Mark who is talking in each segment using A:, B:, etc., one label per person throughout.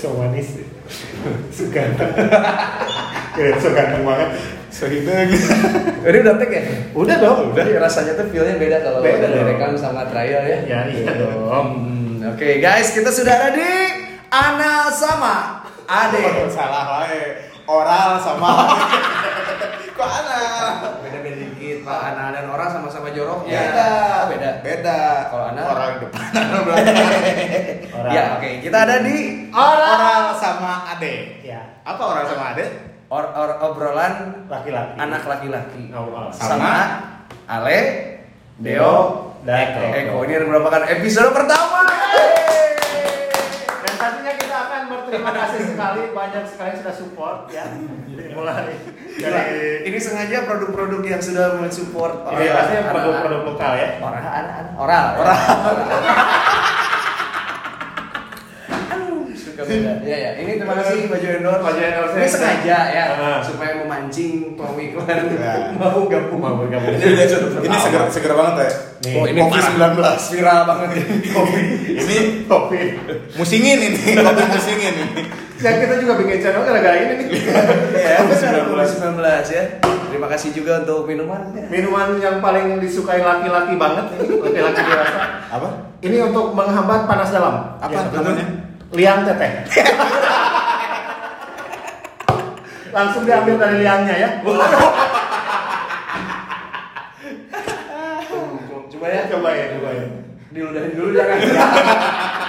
A: so manis so ganteng ya, so ganteng banget so hidung
B: Ini udah tag ya?
A: udah dong udah
B: Jadi rasanya tuh feel-nya beda kalau
A: Beda
B: udah
A: dong.
B: direkam sama trial ya.
A: ya iya dong
B: Hmm, Oke guys, kita sudah ada di Anal sama Ade.
A: salah wae oral sama kok anak
B: Beda-beda dikit, Pak. Anal dan orang sama-sama joroknya.
A: beda
B: Oh, beda.
A: beda
B: Kalau anak?
A: orang depan orang belakang
B: Orang. Ya, oke. Kita ada di
A: oral. sama ade
C: Ya,
A: apa oral sama ade
B: or- or- obrolan
C: laki-laki.
B: anak laki-laki.
C: Awal.
A: Sama.
B: Sama Ale, Deo,
C: dan
B: Eko. Ini yang merupakan episode pertama.
C: Dan pastinya kita akan berterima kasih sekali banyak sekali sudah support ya. Mulai
B: Gila,
C: dari
B: Ini sengaja produk-produk yang sudah mensupport
A: Iya,
C: ini pasti
B: anak-anak.
C: produk-produk lokal ya.
B: Orang, anak, oral, oral. Aduh, suka beda. Ya, ya. Ini terima kasih baju endorse.
C: Baju endorse.
B: Ini sengaja ya,
C: Ah.
B: supaya memancing mau iklan,
A: Ya.
B: mau gabung.
C: Mau bergabung.
A: ini, ini seger seger banget ya
C: Nih.
A: Oh,
B: ini
A: covid
B: parah.
A: 19
B: Viral banget ini. Kopi.
A: ini
C: Kopi.
A: musingin ini covid musingin ini
C: Dan kita juga bikin channel gara-gara ini nih.
B: Ya,
A: Kopi
B: benar,
A: 19.
B: kopi 19 ya. Terima kasih juga untuk minumannya.
C: Minuman yang paling disukai laki-laki banget ini, laki-laki dewasa.
A: apa
C: Ini untuk menghambat panas dalam.
A: Apa
C: Ya,
A: namanya?
C: Liang teteh. Langsung diambil dari liangnya ya.
B: Coba ya,
C: Coba ya, coba ya.
B: diludahin dulu jangan.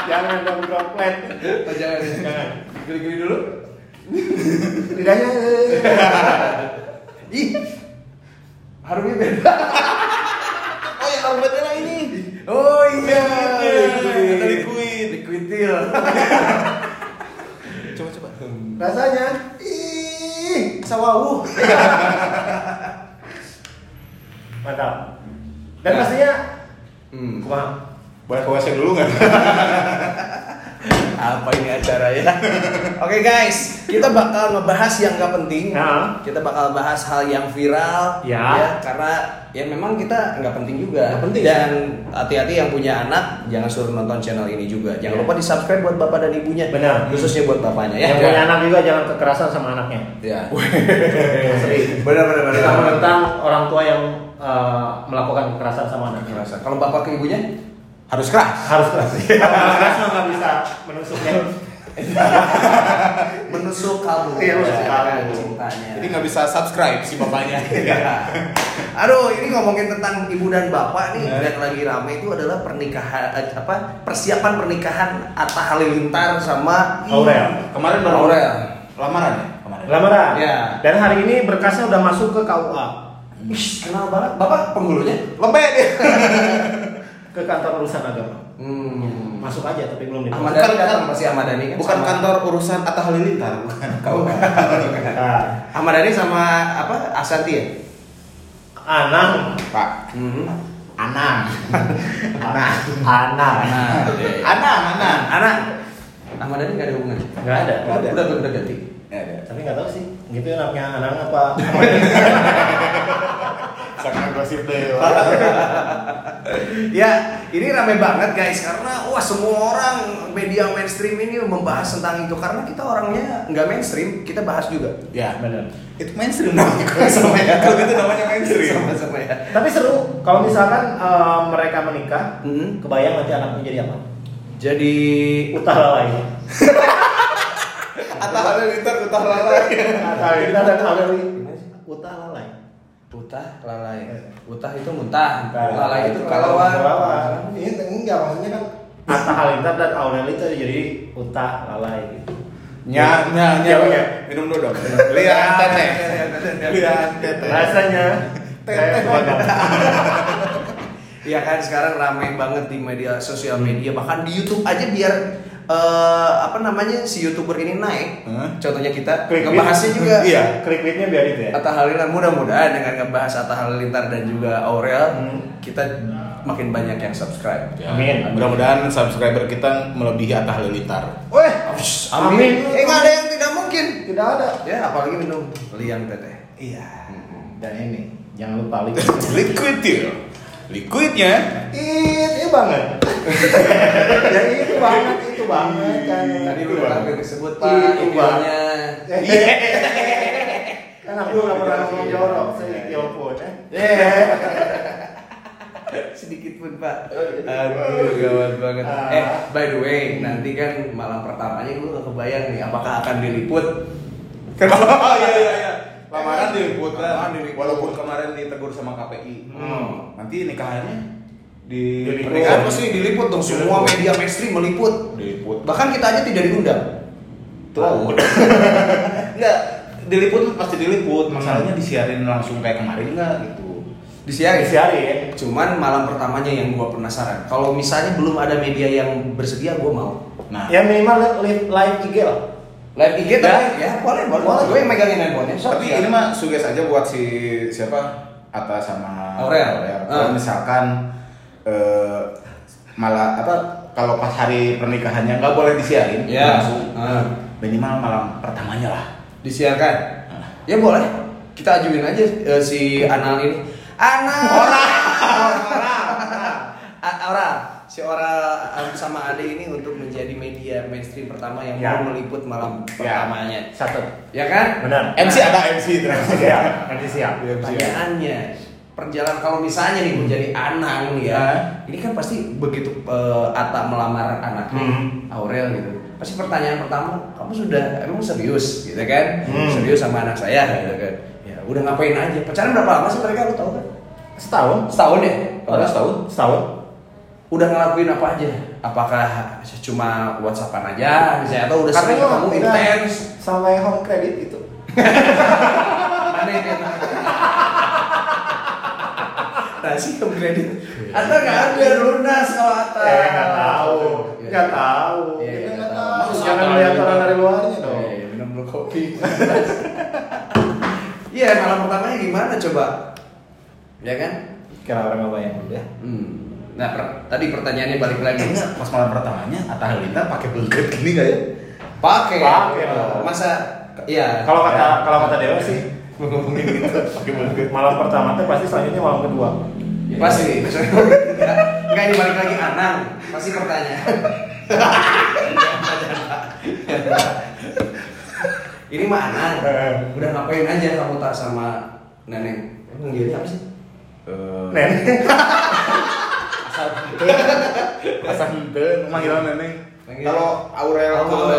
C: Jangan dong droplet.
B: Oh, jangan.
C: Jangan.
B: Geli-geli dulu.
C: Lidahnya
B: Ih. Harumnya beda.
A: oh yang obatnya lah ini
B: Oh iya.
A: Liquid.
B: Kata Liquid. Liquidil.
A: coba coba
C: rasanya ih sawawu. Mantap. Dan
B: Nah.
C: pastinya
B: Hmm.
C: kumaha?
A: boleh ke WC dulu nggak
B: Apa ini acara ya? Oke guys, kita bakal ngebahas yang gak penting.
C: Nah.
B: Kita bakal bahas hal yang viral.
C: Ya.
B: Karena ya memang kita nggak penting juga.
C: Nggak penting.
B: Dan hati-hati yang punya anak, jangan suruh nonton channel ini juga.
C: Ya.
B: Jangan lupa di subscribe buat bapak dan ibunya.
C: Benar.
B: Khususnya buat bapaknya ya.
C: Yang punya anak juga jangan kekerasan sama anaknya.
B: Ya.
C: Sering.
B: Benar benar benar.
C: Kita menentang orang tua yang eh, melakukan kekerasan sama anaknya.
B: Kerasa. Kalau bapak ke ibunya
A: harus keras
C: harus keras Kalau keras mah nggak bisa menusuknya
B: menusuk kalbu.
C: Iya, menusuk
B: Ya, kan,
C: kalbu.
B: Cintanya.
A: jadi nggak bisa subscribe si bapaknya
B: Iya. Aduh, ini ngomongin tentang ibu dan bapak nih
A: Eh.
B: yang lagi rame itu adalah pernikahan eh, apa persiapan pernikahan Atta Halilintar sama
C: Aurel
A: kemarin baru
B: Aurel.
A: lamaran ya Hmm. kemarin
C: lamaran
B: Iya.
C: dan hari ini berkasnya udah masuk ke KUA
B: Ih, kenal banget. Bapak penggulunya?
A: lebih dia
C: ke kantor urusan agama
B: Hmm.
C: masuk aja tapi belum di
B: Ahmad
A: Bukan
B: Dhani datang
A: kan-
B: pasti Ahmad Dhani kan.
A: bukan
B: sama-
A: kantor urusan Atta Halilintar bukan
B: Kau.
C: Nah,
B: Ahmad Dhani sama apa? Asanti ya?
C: Anang
A: pak
B: Hmm.
A: Anang Anang
C: Anang
B: Nah,
A: Anang Anang
B: anak Ahmad Dhani nggak ada hubungannya.
C: nggak ada
A: Nggak ada.
B: Udah udah ganti.
A: ya ya
C: tapi nggak tahu sih gitu anaknya Anang apa
A: sangat gosip deh
B: Ya, ini rame banget guys karena wah semua orang media mainstream ini membahas tentang itu karena kita orangnya nggak mainstream, kita bahas juga.
A: ya
C: benar
A: itu mainstream namanya kalau sama ya kalau gitu namanya mainstream
B: Sama-sama ya.
C: tapi seru kalau misalkan eh, mereka menikah
B: Hmm.
C: kebayang nanti anaknya jadi apa
B: Jadi
C: utah lalai
A: Atta Halilintar utah lalai
C: Atau kita dan Aurel utah lalai
B: Utah lalai. Utah itu Iya. muntah.
C: Muntah.
B: Lalai
A: gitu,
B: itu
C: Kelelawar.
B: kelawar.
A: ini Iya, enggak maksudnya kan
C: Atta Halilintar dan Aurel itu jadi Uta Lalai gitu.
A: nya nya nya
C: Iya, iya.
A: minum dulu dong lihat teteh
D: eh.
A: lihat teteh
C: Rasanya kayak keluarga.
B: Iya kan sekarang ramai banget di media sosial media bahkan di YouTube aja biar eh, apa namanya si youtuber ini naik.
A: Hah?
B: Contohnya kita
C: Klik, klik.
B: ngebahasnya juga.
A: Iya.
C: Klik-kliknya biar itu ya.
B: Atta Halilintar mudah-mudahan dengan ngebahas Atta Halilintar dan juga Aurel
C: Hmm.
B: kita makin banyak yang subscribe.
A: Ya,
C: Amin.
A: mudah-mudahan subscriber kita melebihi Atta Halilintar
C: Weh,
B: Abs-
C: Amin.
B: Eh nggak ada yang tidak mungkin.
C: tidak ada.
B: Ya apalagi minum liang teteh.
A: iya
C: Dan ini, jangan lupa lihat.
A: liquid ya liquidnya
C: Itu banget. iya ya itu banget itu. itu banget kan.
B: Tadi
A: Itu
B: udah
A: banget.
B: hampir disebut
C: Itu
B: pak idealnya. Iya.
C: banget. Kan aku nggak pernah ngomong jorok
B: Iya.
C: seideal pun ya.
B: sedikit pun pak.
C: Oh, iya.
B: Aduh gawat banget.
C: Ah.
B: Eh by the way nanti kan malam pertamanya gue gak kebayang nih apakah akan diliput.
D: Oh iya iya iya. Lamaran diliput
B: Lamaran
D: lah.
B: diliput.
D: Walaupun kemarin ditegur sama KPI.
B: Hmm.
D: Nanti nikahannya di
A: Diliput.
B: Pernikahan pasti diliput dong semua media mainstream meliput.
D: diliput.
B: Bahkan kita aja tidak diundang.
D: Tuh. Eh, Enggak, diliput tuh pasti diliput.
A: Hmm.
D: Masalahnya disiarin langsung kayak kemarin enggak gitu.
B: Disiarin.
C: Sehari ya.
B: Cuman malam pertamanya yang gua penasaran. Kalau misalnya belum ada media yang bersedia, gua mau.
D: Nah,
C: Ya minimal li- li- live IG lah.
B: Live IG
D: Ya.
B: tapi ya boleh boleh.
C: Boleh.
B: Gue yang megangin handphonenya. so,
D: tapi
B: ya.
D: ini mah suges aja buat si siapa? Atta sama
B: Aurel.
D: Kalau
B: Ah.
D: misalkan eh, malah apa kalau pas hari pernikahannya nggak boleh disiarin
B: Ya.
D: langsung
B: Ah.
D: minimal malam pertamanya lah.
B: disiarkan. Ya boleh. Kita ajuin aja eh, si Anal ini. Anal. Ora. Ora. Si Ora um, sama Ade ini untuk menjadi media mainstream pertama yang
C: Ya.
B: mau meliput malam
D: Ya.
B: pertamanya.
C: Satu.
B: Ya kan?
C: Benar.
D: MC ada MC terus.
C: Siap. Nanti siap.
B: Iya, pertanyaannya perjalanan kalau misalnya nih menjadi anang ya
D: Ah.
B: ini kan pasti begitu eh, Atta melamar anaknya
A: Hmm.
B: Aurel gitu pasti pertanyaan pertama kamu sudah emang serius gitu kan
A: Hmm.
B: serius sama anak saya gitu kan ya udah ngapain aja pacaran berapa lama sih mereka lu tau kan
C: Setahun.
B: setahun ya kalau nggak setahun
C: Setahun.
B: udah ngelakuin apa aja apakah cuma whatsappan aja misalnya atau udah sering
C: Katanya
B: ketemu
C: udah
B: intens
C: sampai home credit gitu.
B: mana yang enak? Nasi home credit Atau nggak ada lunas kalau Iya. Atta
C: Ya Iya. nggak tahu. Nggak tahu.
B: Ah. Iya,
C: Kita
B: nggak
C: nggak
B: tahu.
C: tahu.
B: Maksudnya
C: Jangan
B: apa
C: melihat
B: gitu?
C: orang dari luarnya dong.
B: Iya, minum dulu kopi Iya, malam pertamanya gimana coba? Ya kan?
C: Kira orang nggak bayang udah.
B: Hmm. Nah, per- tadi pertanyaannya balik lagi
D: Kayaknya pas malam pertamanya Atta Halilintar pakai belget gini nggak ya?
B: Pakai
C: Pakai lah.
B: Masa Iya
C: Kalau kata kalau kata Dewa sih
D: Ngomongin gitu Ya. pakai Ya. belget.
C: malam pertama tuh pasti selanjutnya malam kedua.
B: Pasti Enggak, enggak ini balik lagi Anang Pasti pertanyaan Ini mah Anang Udah ngapain aja kamu tak sama neneng Manggilnya apa sih?
D: Eh,
C: Nen.
D: Asal Asal hente, manggil neneng.
B: Manggil.
D: Kalau Aurel
B: Kamu
D: ke
B: apa?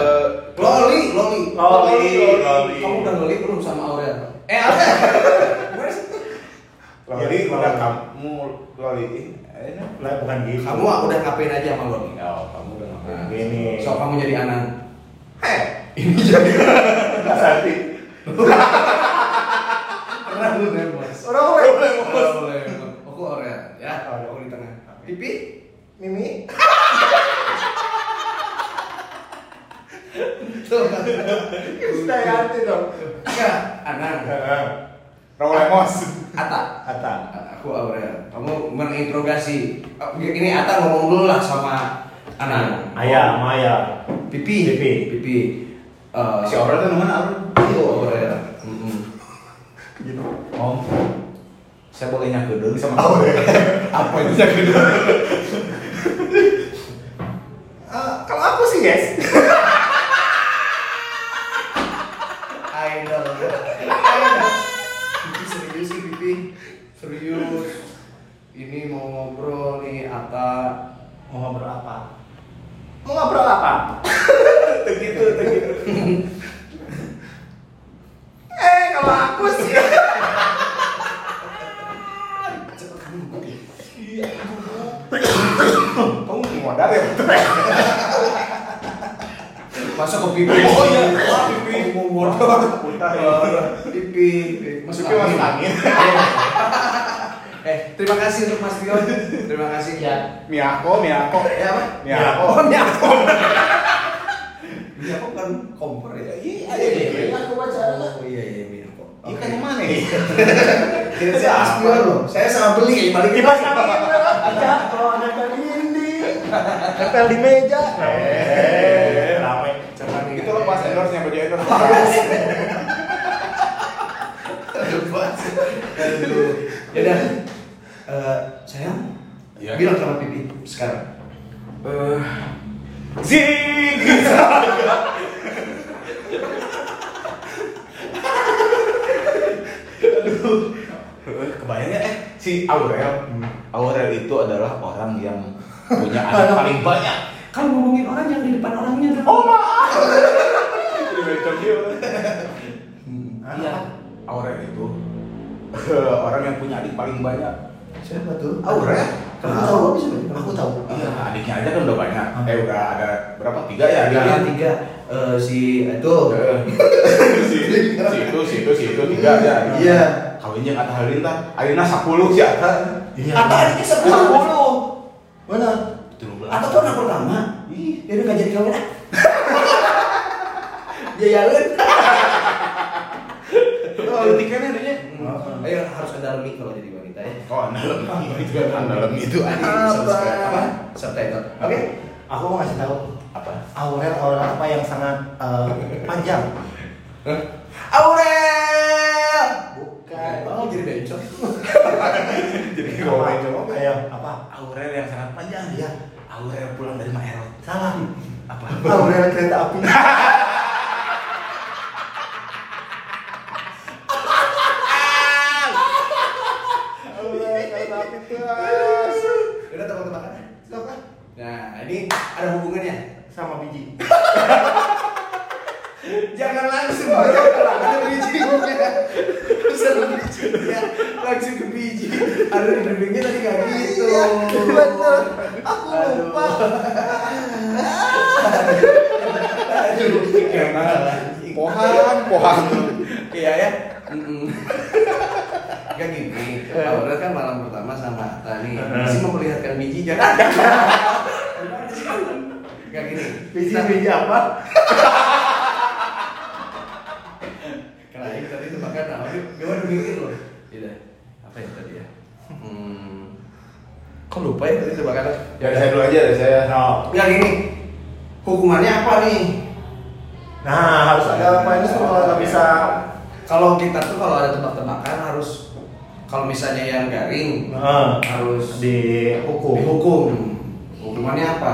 B: Loli, Loli
C: Loli, Loli.
B: Kamu udah Loli belum sama Aurel? Eh Aurel Gimana sih?
D: Loli
A: Iya,
D: udah
A: Loli.
D: kamu Loli eh, ini.
A: Lah bukan gitu.
B: Kamu udah ngapain aja sama Loli?
D: Oh, kamu udah ngapain?
B: Nah, Eh.
A: Gini.
B: So kamu jadi Anang Heh Ini jadi
C: Sati.
B: Pernah lu nervous
C: Orang mulai.
B: boleh aku Aurel ya aku di tengah pipi
C: Mimi.
B: tuh
C: Stay hati dong.
B: enggak Anang
A: Heeh.
D: Raul Lemos.
B: Ata
A: Ata.
B: aku Aurel kamu meninterogasi Oh, ini Ata ngomong dulu lah sama Anang
A: Ayam, ayam.
B: pipi
A: Pipi.
B: pipi Eh,
D: Si Aurel tuh mana Aurel?
B: Iyo, Aurel Mm-mm.
A: Gitu.
D: Om. Saya boleh nyakedeng sama
B: apa itu yang kedua
C: Eh, kalau aku sih guys.
B: idol pipi serius sih pipi serius ini mau ngobrol nih Ata
C: Mau ngobrol apa? Mau ngobrol apa?
D: Begitu, begitu.
C: Eh kalau aku sih.
D: Kamu modal ya?
B: Masuk ke pipi.
D: Oh, iya.
B: Wah, pipi. Eh,
D: Punta ya.
B: Pipi. Masuk
D: Pipi masuk angin.
B: Iya. Eh, terima kasih untuk Mas Tio. Terima kasih. Ya.
D: Miyako, Miyako.
B: Ya, apa?
D: Miyako.
B: Oh, Miyako. Miyako kan kompor ya. iya,
D: Iya,
B: iya.
C: Aku pacaran lah.
B: Oh iya iya Miyako.
D: Iya,
B: Oke.
D: kan yang mana ya?
B: Kira-kira saya Mas Tio loh. Saya sama beli balik
C: Kipas angin berat. Ada "Iya, kalau ada kali ini. Nempel di meja.
A: Eh, rame.
D: Itu lepas endorse yang baju endorse.
B: Aduh. Yaudah. Ya Eh, sayang.
D: Iya.
B: Bilang sama Pipi sekarang.
D: Eh,
A: Zing.
D: Kebayang nggak, eh si Aurel Aurel itu adalah orang yang punya anak paling banyak
B: Kalau kan ngomongin orang yang di depan orangnya dong.
D: Oh maaf
A: Jadi bacok dia.
D: Iya Aurel itu orang yang punya adik paling banyak
C: Siapa tuh?
D: Aurel?
C: Kamu tahu apa sih? Aku tahu.
D: Iya adiknya aja kan udah banyak
C: Hah?
D: Eh udah ada berapa? Tiga ya
C: Tiga,
D: adiknya
C: tiga. Eh, si itu.
D: Eh, si si itu si itu si itu tiga ya
C: Iya.
D: kawinnya kata Halinta Alina 10 sih ada
C: Iya.
B: Atau adiknya sepuluh.
C: Mana?
B: Atau tuh anak pertama.
D: Ih.
B: Dia udah nggak jadi kawin. ah. Ya ya Lun.
D: Politikannya Oh, adanya
B: Ayo harus ada lebih kalau jadi wanita ya.
D: Oh, dalam itu kan dalam itu ada
C: Apa?
B: Subtitle.
C: Oke, aku mau ngasih tahu
D: Apa?
C: Aurel orang apa yang sangat eh, panjang.
B: Aurel.
C: Bukan.
B: Oh jadi bencong.
D: Jadi
C: Apa? Ayo, apa?
D: Aurel yang sangat panjang
C: Iya.
D: Aurel pulang dari Maerot.
C: Salah.
D: Apa?
C: Aurel kereta api. Aurel kereta api tuh.
B: Udah tebak-tebakan.
C: Siapa?
B: Nah ini ada hubungannya.
C: Sama biji.
B: Jangan langsung jangan. ada bijinya. Terus ada bijinya langsung ke biji. Ada di dindingnya tadi nggak gitu.
C: Iya, betul. Aku
B: Aduh.
C: lupa.
B: Aduh, emang.
A: Pohang, pohang.
B: Iya ya. Mm-mm. Gak Kan gini, Aurel kan malam pertama sama Atta nih Masih memperlihatkan biji jangan Gak gini
C: Biji-biji apa?
B: Kelain tadi itu nah, makan apa? Gue baru mikir loh. Iya. Apa ya tadi ya? Hmm. Kok lupa ya tadi tebakan?
D: Dari saya dulu aja, dari saya.
C: No.
B: Ya gini. Hukumannya apa nih?
C: Nah, harus ada apa ini tuh kalau nggak bisa
B: Kalau kita tuh kalau ada tebak-tebakan harus kalau misalnya yang garing
C: Heeh.
B: harus
C: dihukum.
B: dihukum. Hukumannya apa?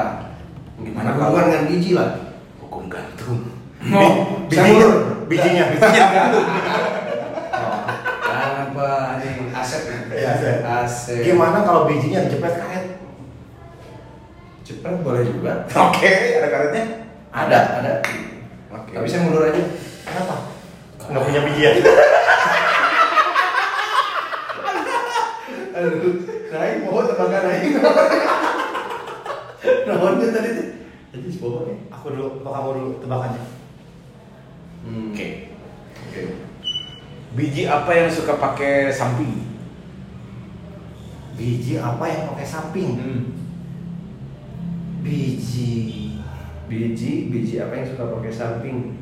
B: Gimana
D: Gimana
B: kalau
D: kalau-
B: dengan biji lah?
D: Hukum gantung.
C: Oh,
B: Mau
C: Bi- bijinya, bijinya, bijinya.
B: Oh, Jangan apa nih aset
C: Iya, aset.
B: aset
C: Gimana kalau bijinya dijepret karet?
B: Jepret boleh juga.
D: Oke, ada karetnya.
B: Ada, ada.
D: Oke.
B: Tapi saya mundur aja.
C: Kenapa? Nggak punya biji ya?
B: Aduh, naik pohon tebakan naik. Pohonnya tadi tuh. Jadi pohon ya.
C: Aku dulu, apa kamu dulu tebakannya?
B: Hmm.
D: Oke. Oke. Biji apa yang suka pakai samping?
C: Biji apa yang pakai samping?
D: Hmm.
C: Biji,
B: Biji, biji apa yang suka pakai samping?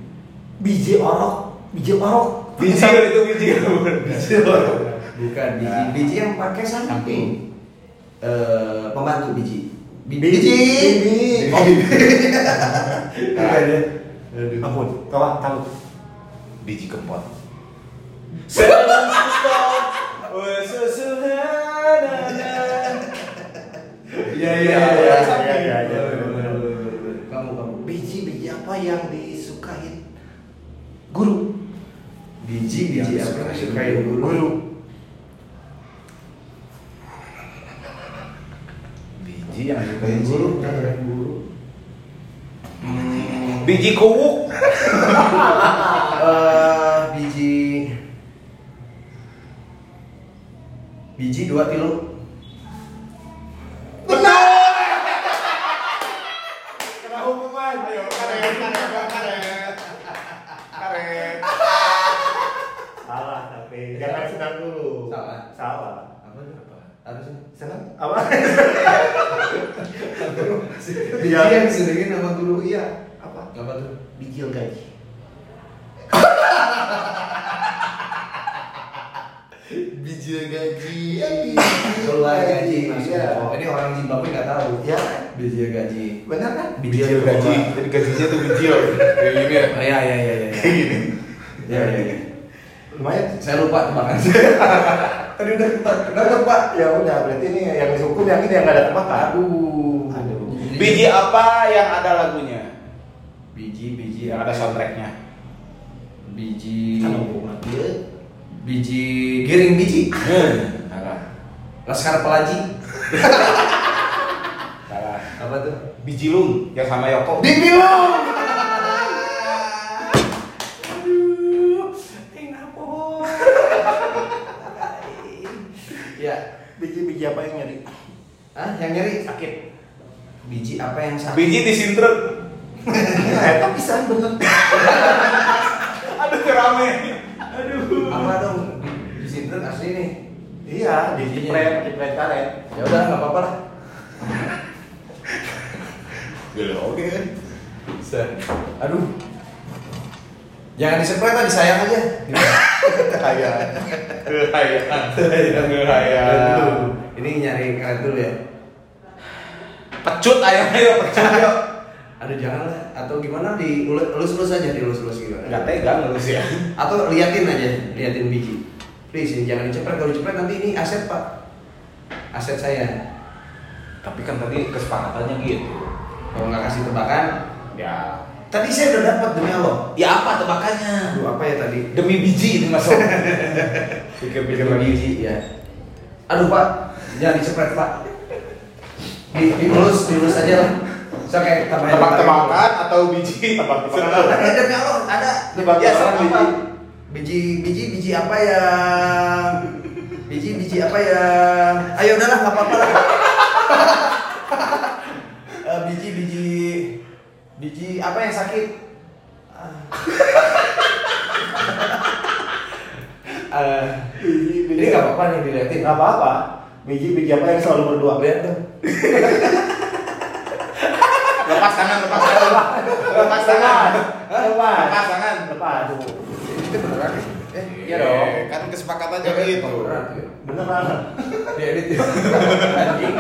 C: biji orok, biji orok.
D: Biji itu biji. Biji
B: Bukan biji,
D: Nah.
B: biji yang pakai samping.
D: Samping.
B: Eh, pembantu biji. Bi-
C: Biji. Biji.
B: Oh, Bukan ya.
C: Ampun, kau tahu?
D: Biji kempot.
B: Iya,
C: iya, iya, iya, iya, iya.
B: Kamu kamu.
C: Biji biji apa yang disukain guru?
B: Biji
D: Yang
B: biji apa
D: disukai
B: yang disukai
D: guru.
B: Iya, guru?
D: Biji yang disukai guru.
B: Guru, kan, guru. Hmm.
D: Biji kuwuk.
B: Eh, biji biji dua tilu
C: Kena hubungan. Ayo karet, karet, karet, karet. Salah tapi jangan senang dulu.
B: Salah.
C: Salah.
B: apa tuh apa apa sih
C: Senang apa?
B: biji
C: Iya.
B: yang disediain sama guru iya
C: apa?
B: apa tuh
C: Bijil gaji.
B: biji gaji dolar gaji maksudnya
C: Ya, Iya.
B: oh, ini orang Zimbabwe nggak tahu
C: Iya.
B: biji gaji
C: Benar kan?
B: biji
D: gaji. Jadi gajinya tuh biji. Kayak gini ya.
B: oh, iya iya iya iya
D: Kayak gini.
B: Iya, iya, iya.
C: Lumayan.
B: saya lupa tebakan tadi udah ketebak udah ketebak
C: Ya udah, berarti ini yang dihukum yang ini yang gak ada tempat kan?
B: Aduh.
C: Aduh.
D: Biji apa yang ada lagunya?
B: biji biji
D: Yang ada soundtracknya?
B: biji
C: Kan hubungan.
B: biji giring biji
D: Salah,
B: laskar pelaji
D: salah.
B: apa tuh
D: Biji lung yang sama Yoko.
B: dibilang aduh Aing napoh. ya
C: Biji-biji apa yang nyari?
B: ah yang nyeri sakit biji apa yang sakit
D: Biji di sintret.
C: Eta pisan bener.
D: Aduh rame. Aduh.
B: apa dong di sintren asli nih
C: Iya, di jepret, jepret karet.
B: ya udah nggak apa-apa lah
D: Gila oke.
B: aduh jangan disepret lah disayang aja
C: Kayak
D: Kehayaan. Kehayaan.
B: Aduh, ini nyari kalian dulu ya
D: Pecut ayam ayo pecut ayo.
B: aduh jangan lah atau gimana di lulus lulus aja di lulus lulus gimana
D: Enggak tega ngelus ya.
B: atau liatin aja liatin biji please ini jangan dicepret kalau dicepret nanti ini aset pak aset saya
D: Tapi kan tadi kesepakatannya gitu.
B: kalau nggak kasih tebakan
D: Ya.
B: tadi saya udah dapat demi allah
D: Ya apa tebakannya?
B: aduh apa ya tadi
D: Demi biji ini masuk. Pikir-pikir lagi.
B: biji ya aduh pak jangan dicepret pak di dilurus dilurus aja lah so kayak tambahin
D: Tebak-tebakan atau biji?
C: Tebak-tebakan.
B: Tapi demi allah ada
C: Tebak-tebakan
B: ya sok apa
C: biji.
B: biji biji biji apa ya biji biji apa ya ayo udahlah nggak apa-apa lah Eh, biji biji biji apa yang sakit Ah. Eh,
C: biji-biji.
B: ini nggak apa-apa nih Ah, diliatin
C: Eh, Nggak apa-apa. Biji-biji apa yang selalu berdua?
B: lihat dong
D: Lepas tangan, lepas tangan. Lepas tangan.
C: Lepas.
D: Lepas tangan.
C: Lepas.
B: itu beneran ya? eh iya
D: Iya
B: dong Iya,
D: Kan kesepakatannya gitu.
B: beneran tuh ya.
C: Beneran.
B: diedit ya anjing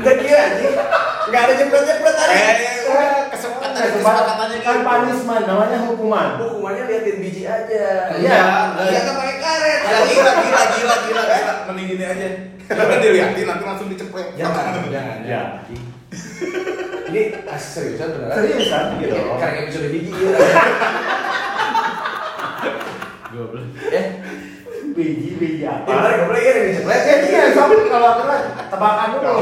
B: enggak dia anjing enggak ada jepret jepret tadi
D: Eh, kesepakatan, kesepakatannya
C: Kan punishment, namanya hukuman.
B: hukumannya liatin biji aja
C: Iya.
B: Iya kan pakai karet
D: Gila, gila, gila, gila, gila. Eh, Mending gini aja. Jangan dilihatin, nanti langsung diceprek.
B: jangan
D: Iya.
B: jangan
C: Ya.
B: jangan ini asli seriusan beneran Iya
C: Serius kan?
D: Iya
C: Gitu.
B: karena episode biji ya eh
C: Biji-biji
B: ya
D: Iya,
B: bener
C: apa?
B: gak boleh ini jepret
C: Eh, iya, sama kalau beneran tebakan dulu.
D: Iya.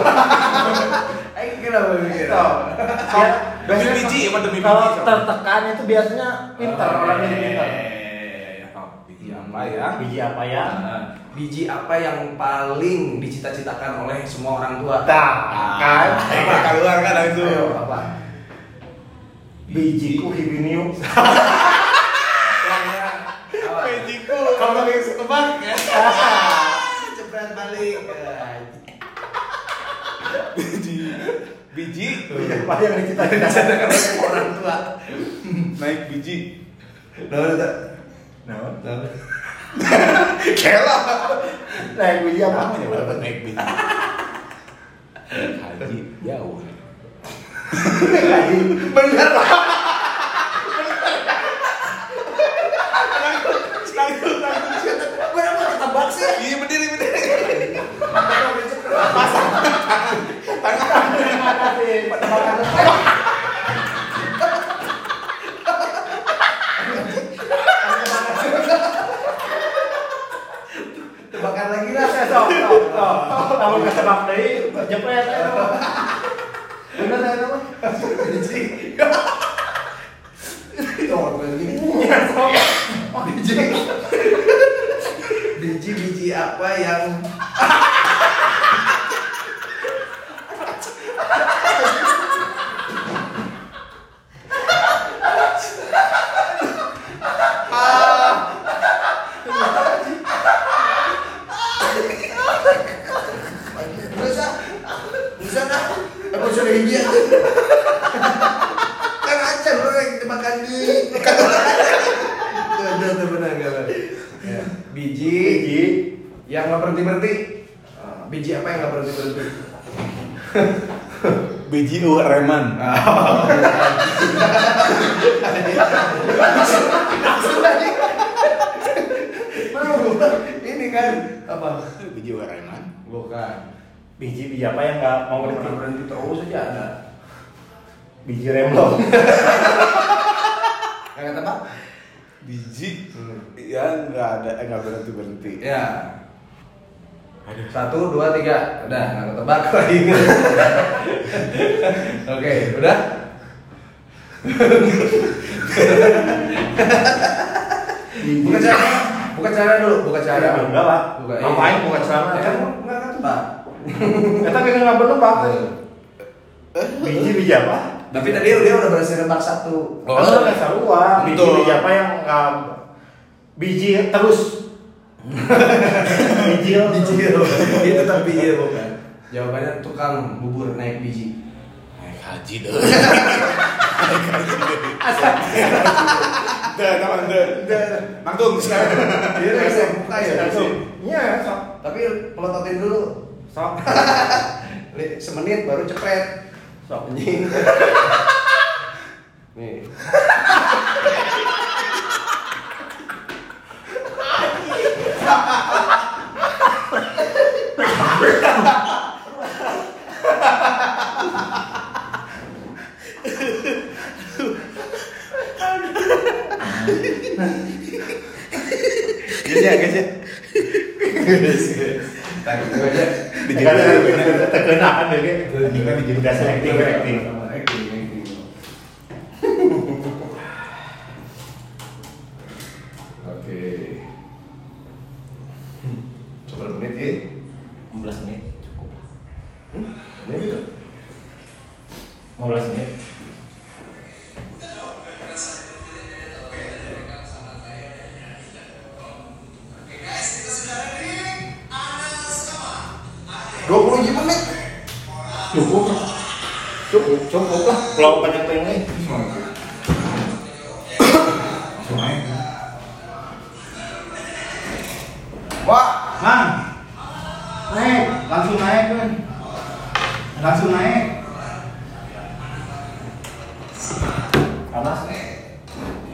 B: ayo kenapa mikir
C: Ya,
D: Demi
C: biasanya
D: biji, emang demi biji. Eh,
C: Kalau tertekan itu biasanya pinter, orang yang pinter.
D: Biji ya, apa ya?
C: Biji apa ya?
B: biji apa yang paling dicita-citakan oleh semua orang tua
C: Nah, kan?
D: Apa keluar kan
B: Ayo,
D: langsung.
B: apa
C: Bijiku hibinium.
B: Iya. Apa?
D: Bejiku. Kalau yang setebak ya.
B: Jepret balik.
D: Biji. Biji.
C: Biji apa yang dicita-citakan?
B: orang tua.
D: Naik biji.
C: Nah,
D: Kela.
C: yang biji apa?
D: Namanya baru dapat naik biji. Haji jauh.
C: Lagi.
B: Bener lah. Bener mau ketebak sih.
D: Iya berdiri berdiri.
C: Terima kasih. Tebakan.
B: Tebakan lagi lah.
C: Kita sok, sok, sok. Kalau nggak tebak dari jepret. ayo. Bener ya, teman?
B: Biji. Itu orang gue gini.
C: Iya, sok. Oh,
B: Biji. Biji biji apa yang Bisa, bisa ah. dah. Aku sudah India. Kan aja lo yang dimakan di. Itu ada tuh benar nggak, Bang? Ya. Biji
C: Biji.
B: yang nggak berhenti berhenti. Ah, Biji apa yang nggak berhenti berhenti?
D: Biji uh reman.
B: Belum. Ini kan apa? kan,
D: Biji uh reman.
B: Bukan.
C: biji biji apa yang nggak mau
B: berhenti
C: berhenti
B: berhenti terus aja ada
C: biji remblong
B: nggak kata pak
D: biji
B: Hmm.
D: ya nggak ada eh, nggak berhenti berhenti
B: ya satu dua tiga udah nggak ketebak lagi oke udah buka cara buka cara dulu buka cara
C: Ya, enggak lah.
B: Buka, iya.
C: Ngapain buka celana?
B: ya kan nggak ketebak
C: ya tapi kan nggak berlebak kan biji biji apa
B: tapi tadi dia udah berhasil nembak satu
D: Oh.
C: Kan nggak sarua biji
D: Betul.
C: biji apa yang nggak biji terus biji
B: biji itu tetap biji bukan jawabannya tukang bubur naik biji
D: naik haji deh naik haji deh teman deh manggung sekarang
B: Iya, langsung buka ya langsung.
C: iya sok
B: Tapi pelototin dulu.
C: sok
B: Li- Semenit baru cepret.
C: sok
B: Anjing. Nih.
D: guys ya guys ya
B: Tadi itu aja.
C: Terkena- terkena kan deh udah acting acting
B: Acting, acting. Oke. Coba menit ya.
D: 16 menit cukup
C: Hmm?
B: Menit itu.
C: 15 menit
B: Dua puluh menit.
C: cukup cukup cukup lah kalau banyak yang lain
B: Wah,
D: mang naik langsung naik kan langsung naik